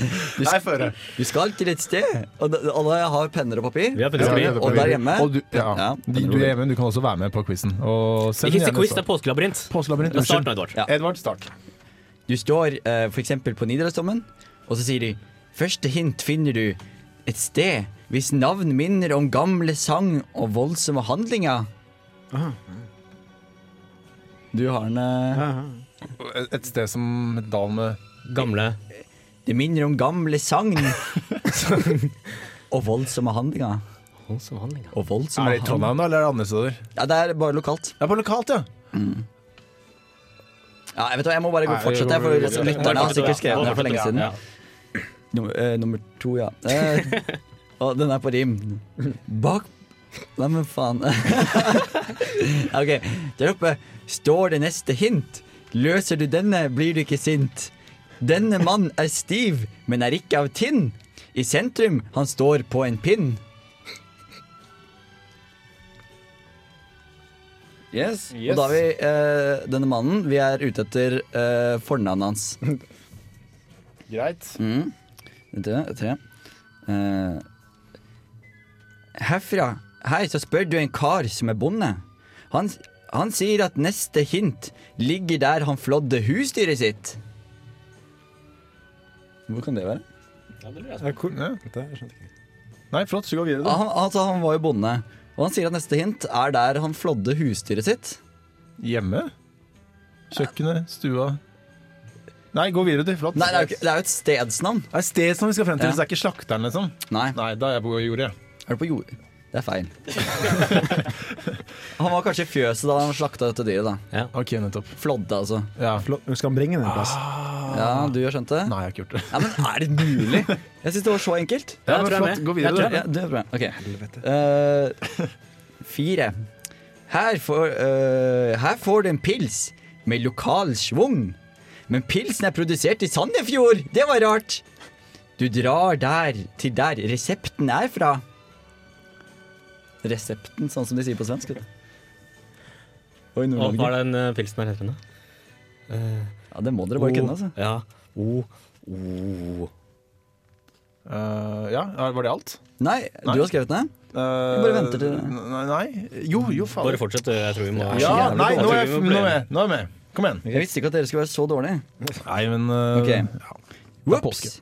B: Nei, føre.
C: Du skal til et sted, og da- alle har penner og papir.
D: Vi har penner og papir.
C: Og der hjemme.
B: Og du, ja.
C: Ja,
B: du, du er hjemme, du kan også være med på quizen. Og send
D: Ikke si
B: gjerne
D: quiz,
B: svar.
D: det er påskelabyrint.
B: Påskelabyrint.
D: Ja, start
B: unnskyld.
D: da, Edvard.
C: Ja.
B: Edvard, start.
C: Du står eh, for eksempel på Nidarosdomen, og så sier de Første hint finner du et sted hvis navn minner om gamle sang og voldsomme handlinger. Du har en eh,
B: Et sted som dal med
D: Gamle
C: Det minner om gamle sagn. og voldsomme handlinger.
D: Holdsomhandlinger.
C: Og
B: Er
C: voldsomme
B: det i Trondheim, da, eller er det andre steder?
C: hand- Ja, det er bare lokalt.
B: Det er på lokalt, ja.
C: Ja, jeg vet hva, jeg må bare gå
B: Nei,
C: fortsette,
B: vi går-
C: jeg,
B: vi
C: for
B: går-
C: lytterne har sikkert skrevet den her for lenge siden.
D: Ja.
C: Nummer, eh, nummer to, ja. Eh, og den er på rim. Bak Nei, men faen. ok, der oppe står det neste hint. Løser du denne, blir du ikke sint. Denne mann er stiv, men er ikke av tinn. I sentrum, han står på en pinn. Yes. Og da har vi eh, denne mannen. Vi er ute etter eh, fornavnet hans.
B: Greit.
C: Mm. Det, tre. Eh, herfra Her så spør du en kar som er bonde. Han, han sier at neste hint ligger der han flådde husdyret sitt. Hvor kan det være?
E: Ja, hvor- Det skjønte jeg ikke.
B: Nei, flott. Så går vi videre, da.
C: Han, altså, han var jo bonde, og han sier at neste hint er der han flådde husdyret sitt.
B: Hjemme? Kjøkkenet? Stua? Nei, gå videre, du. Flott.
C: Nei, det er jo, ikke, det er jo et stedsnavn.
B: Det er sted som vi skal frem til,
C: Ja.
B: så det er ikke slakteren, liksom.
C: Nei,
B: Nei, da er jeg på jordet.
C: er det på jord? Det er feil. han var kanskje i fjøset da han slakta dette dyret. da
B: Ok, nettopp.
C: Flådde, altså.
B: Ja.
E: Flott. Skal han bringe den en plass?
C: Ah. Ja, du har skjønt det?
B: Nei, jeg har ikke gjort det.
C: Ja, men er det mulig? Jeg syns det var så enkelt.
B: Ja,
D: jeg
B: men
D: tror jeg er
B: flott.
D: med.
B: Gå
D: Jeg tror
B: videre,
D: jeg
B: du.
C: Ja, det er bra. Ok. Eh, fire. Her får, eh, her får du en pils med lokal schwung. Men pilsen er produsert i Sandefjord! Det var rart! Du drar der til der resepten er fra. Resepten, sånn som de sier på svensk. vet du. Oi,
D: Og hva
C: Nord-Norge.
D: er den eh, pilsen her heter den? da?
C: Ja, det må dere bare kunne, altså.
D: Ja. O. O.
B: Eh, ja, var det alt?
C: Nei,
B: Nei.
C: du har skrevet den?
B: bare
C: venter til-
B: Nei, nei. Jo, jo, faen.
D: Bare fortsett, eh, jeg tror vi må
B: Ja,
C: jævlig
B: nei, nå er
D: dårlig.
B: jeg nå er jeg med. Nå er jeg med. Kom igjen.
C: Jeg visste ikke at dere skulle være så dårlige.
B: Nei, men eh,
C: Ok.
B: ja. Det er påske.
C: Ops!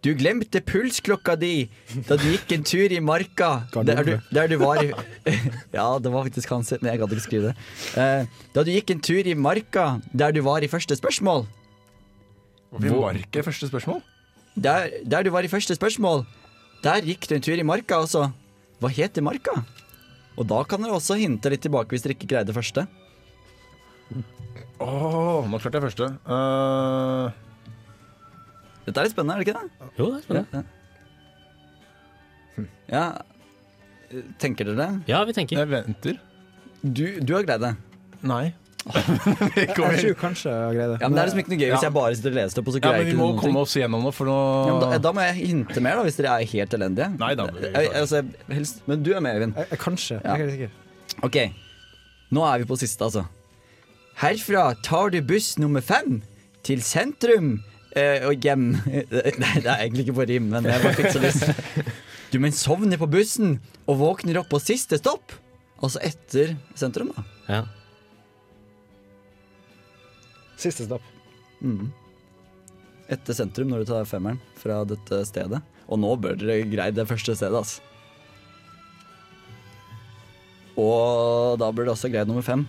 C: Du glemte pulsklokka di da du gikk en tur i marka. Der du, der du var i Ja, det var faktisk han sin. Nei, jeg gadd ikke skrive det. Eh, da du gikk en tur i marka der du var i første spørsmål.
B: Hvorfor var ikke første spørsmål?
C: Der, der du var i første spørsmål, der gikk du en tur i marka, altså. Hva heter marka? Og da kan dere også hinte litt tilbake hvis dere ikke greide det første.
B: Åh, nå klarte jeg første. Eh,
C: Dette er litt spennende, er det ikke det? Hm.
D: Jo, det er spennende.
C: Ja. Eh, Tenker dere det?
D: Ja, vi tenker.
B: jeg venter.
C: Du, du har greid det.
B: Nei.
E: Jeg tror kanskje jeg greier det.
C: Ja, men Det er liksom ikke noe gøy hvis jeg bare sitter og leser det opp, og så
B: Ja,
C: greier
B: men
C: jeg
B: vi
C: ikke
B: må
C: noen ting.
B: komme oss gjennom nå, for nå
C: Ja, men da, da må jeg hinte mer, da, hvis dere er helt elendige.
B: Nei da, men vi
C: Jeg-
B: klarer det.
C: altså, helst, men du er med, Øyvind.
E: Jeg, jeg, kanskje. Jeg er ikke helt sikker.
C: Ok, nå er vi på siste, altså. Herfra tar du buss nummer fem til sentrum eh, og hjem. Nei, det er egentlig ikke på rim, men jeg bare fikk så lyst. Du, men sovner på bussen og våkner opp på siste stopp. Altså etter sentrum, da.
D: Ja.
E: Siste stopp.
C: Etter sentrum, når du tar femmeren fra dette stedet. Og nå bør dere greie det første stedet, altså. Og da bør dere også greie nummer fem.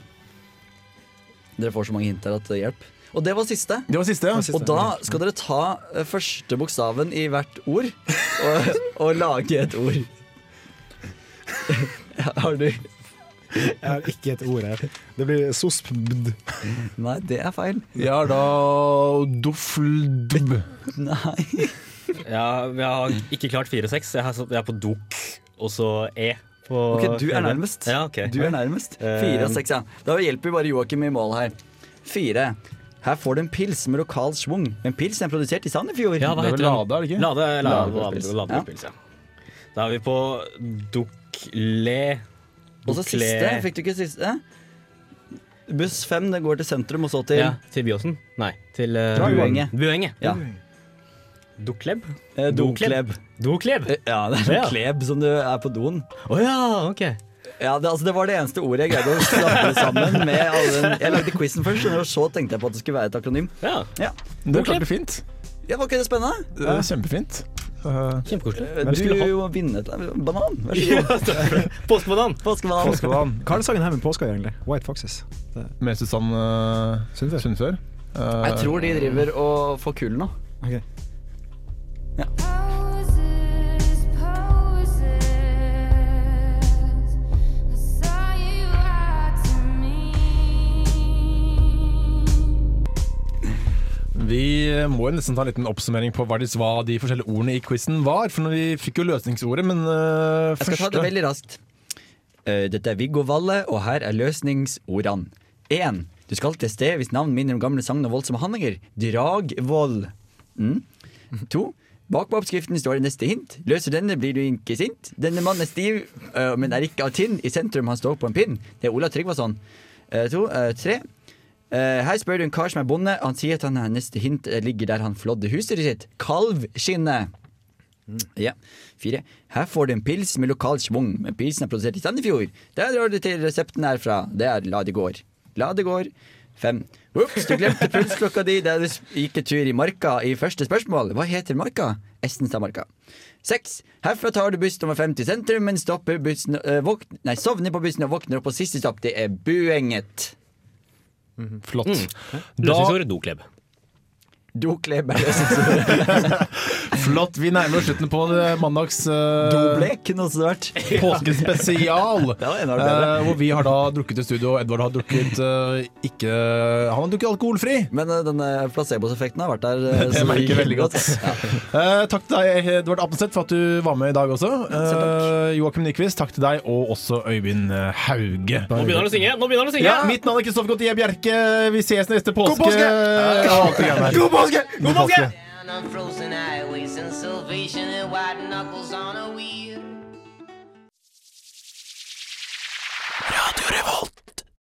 C: Dere får så mange hint her at det hjelper. Og det var siste.
B: Det var siste, ja.
C: Og da skal dere ta eh, første bokstaven i hvert ord og, og lage et ord. Har du
E: Jeg har ikke et ord her. Det blir sospbd.
C: Nei, det er feil.
B: Jeg har da Doffeldubb.
C: Nei.
D: Ja, men jeg har ikke klart 4-6. Jeg, har satt- jeg er på dok, og så E. På
C: Ok, du er nærmest.
D: Ja, ok. Eh,
C: Du er nærmest. Fire av seks, ja. Da hjelper bare Joakim i mål her. Fire. Her får du en pils med lokal schwung. En pils er produsert i Sandefjord.
D: Ja, hva
B: Det er
D: heter
B: vel
D: den?
B: Lade, er det ikke?
D: Lade, lade, lade,
C: Ladepils.
D: lade,
C: Ja.
D: Ladepils, ja. Da er vi på Dukle.
C: Og så siste. Fikk du ikke siste? Buss fem, det går til sentrum, og så til
D: Ja, til Byåsen? Nei, til eh,
C: Dra, Buenge.
D: Buenge.
C: Ja.
D: Dukleb?
C: eh, Dokleb.
D: Dokleb?
C: Eh, Ja, det er
D: Ja.
C: sånn kleb som du er på doen.
D: Å ja, ok.
C: Ja, det, altså, det var det eneste ordet jeg greide å slappe sammen med. Alle. Jeg lagde quizen først, skjønner du, og så tenkte jeg på at det skulle være et akronym.
D: Ja,
C: Ja,
B: Det klarte du fint.
C: ja Var ikke det spennende?
B: Det er Kjempefint. Eh,
D: Kjempekoselig.
C: Du
D: skulle ha-
C: jo vinnet en banan. Vær så god.
D: Postmannen!
C: Påskebanan.
B: Påskebanan
E: Hva er det sangen her med påska, egentlig? White Foxes.
B: med Susann eh,
E: Sundfør.
B: Sundfør. Eh,
C: Jeg tror de driver og får kull nå.
E: Ok.
B: Vi må jo nesten ta en liten oppsummering på hva de, hva de forskjellige ordene i quizen var. For når vi fikk jo løsningsordet, men eh,
C: Jeg skal ta det veldig raskt. Eh, Dette er Viggo Valle, og her er løsningsordene. 1. Du skal til sted hvis navn minner om gamle sagn og voldsomme handlinger. Dragvoll. 2. Bak på oppskriften står det neste hint. Løser denne, blir du ikke sint. Denne mannen er stiv, eh, men er ikke av tinn. I sentrum han står på en pinn. Det er Ola Tryggvason. 2. 3. Eh, her spør du en kar som er bonde. Han sier at han har neste hint eh, ligger der han flådde husdyret sitt. Kalvskinnet. Ja. Fire. Her får du en pils med lokal schwung. Men Pilsen er produsert i Sandefjord. Der drar du til resepten herfra. Det er Ladegård. Ladegård. Fem. Ops, du glemte pulsklokka di da du s- gikk en tur i Marka i første spørsmål. Hva heter Marka? Estenstadmarka. Seks. Herfra tar du buss nummer fem til sentrum, men stopper bussen eh, våk- Nei, sovner på bussen og våkner opp på siste stopp. Det er Buenget.
B: Flott.
C: Mm.
D: Løsningsord Dokleb.
C: Dokleb er løsningsordet.
B: Flott. Vi nærmer oss slutten på det mandags eh,
C: Doblek kunne også vært.
B: påskespesial.
C: var en av de bedre.
B: eh, hvor vi har da drukket i studio, og Edvard har drukket eh, ikke Han har drukket alkoholfri.
C: Men eh, denne placeboeffekten har vært der. eh, så
B: merker
C: gikk
B: jeg veldig godt.
C: Ja.
B: Eh, takk til deg, Edvard Apenseth, for at du var med i dag også. Uh, Joakim Nyquist, takk til deg, og også Øyvind eh, Hauge.
D: Nå begynner han å synge! Nå begynner han å synge!
B: Ja, mitt navn er Kristoffer Gautier Bjerke. Vi ses neste påske. God påske! God påske! God påske!
J: down on frozen highways and salvation and white knuckles on a wheel.